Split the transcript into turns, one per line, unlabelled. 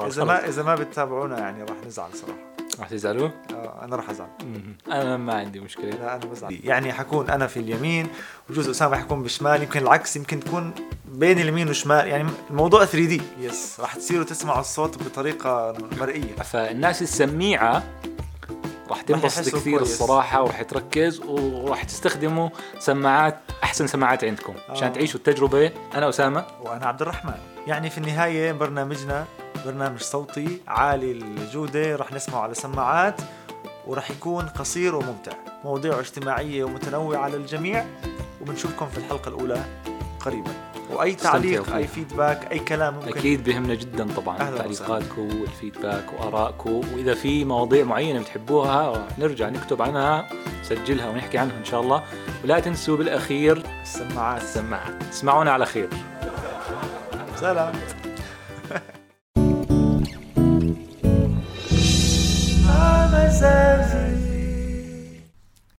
اذا ما اذا ما بتتابعونا يعني راح نزعل صراحه
رح تزعلوا؟
آه، انا راح ازعل
انا ما عندي مشكله
لا انا بزعل يعني حكون انا في اليمين وجوز اسامه حيكون بالشمال يمكن العكس يمكن تكون بين اليمين والشمال يعني الموضوع 3 دي يس راح تصيروا تسمعوا الصوت بطريقه مرئيه
فالناس السميعه راح تنبسط
يحسوا
كثير
كويس.
الصراحه وراح تركز وراح تستخدموا سماعات احسن سماعات عندكم
آه.
عشان تعيشوا التجربه انا اسامه
وانا عبد الرحمن يعني في النهايه برنامجنا برنامج صوتي عالي الجوده راح نسمعه على سماعات وراح يكون قصير وممتع مواضيعه اجتماعيه ومتنوعه للجميع وبنشوفكم في الحلقه الاولى قريبا واي
استمتعوا
تعليق
فيه.
اي فيدباك اي كلام ممكن
اكيد بهمنا جدا طبعا
أهلاً
تعليقاتكم والفيدباك وارائكم واذا في مواضيع معينه بتحبوها نرجع نكتب عنها نسجلها ونحكي عنها ان شاء الله ولا تنسوا بالاخير
السماعات
السماعات اسمعونا على خير
سلام